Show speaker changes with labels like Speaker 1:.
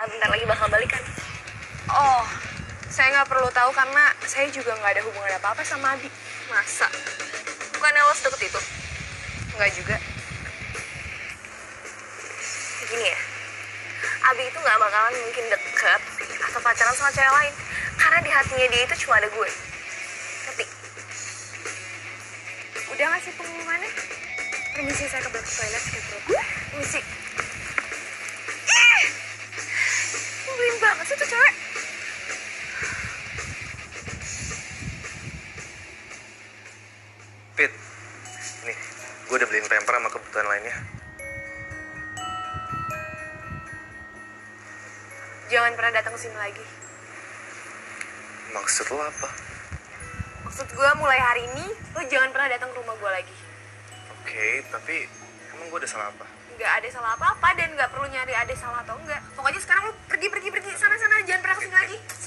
Speaker 1: Ah, bentar lagi bakal kan? balikan.
Speaker 2: Oh, saya nggak perlu tahu karena saya juga nggak ada hubungan apa-apa sama Abi.
Speaker 1: Masa? Bukannya lo sedekat itu?
Speaker 2: Nggak juga.
Speaker 1: Gini ya, Abi itu nggak bakalan mungkin deket atau pacaran sama cewek lain. Karena di hatinya dia itu cuma ada gue. Ngerti?
Speaker 2: Udah ngasih pengumumannya? Permisi saya ke belakang toilet sakit perut.
Speaker 1: Misi. Ih! Ngebelin banget sih tuh cewek.
Speaker 3: Pit, nih, gue udah beliin pamper sama kebutuhan lainnya.
Speaker 2: Jangan pernah datang ke sini lagi.
Speaker 3: Maksud lo apa?
Speaker 2: Maksud gue mulai hari ini lo jangan pernah datang ke rumah gue lagi.
Speaker 3: Oke, tapi emang gue udah salah apa?
Speaker 2: Nggak ada salah apa-apa dan nggak perlu nyari ada salah atau enggak. Pokoknya sekarang lo pergi pergi pergi sana sana jangan pernah ke sini lagi.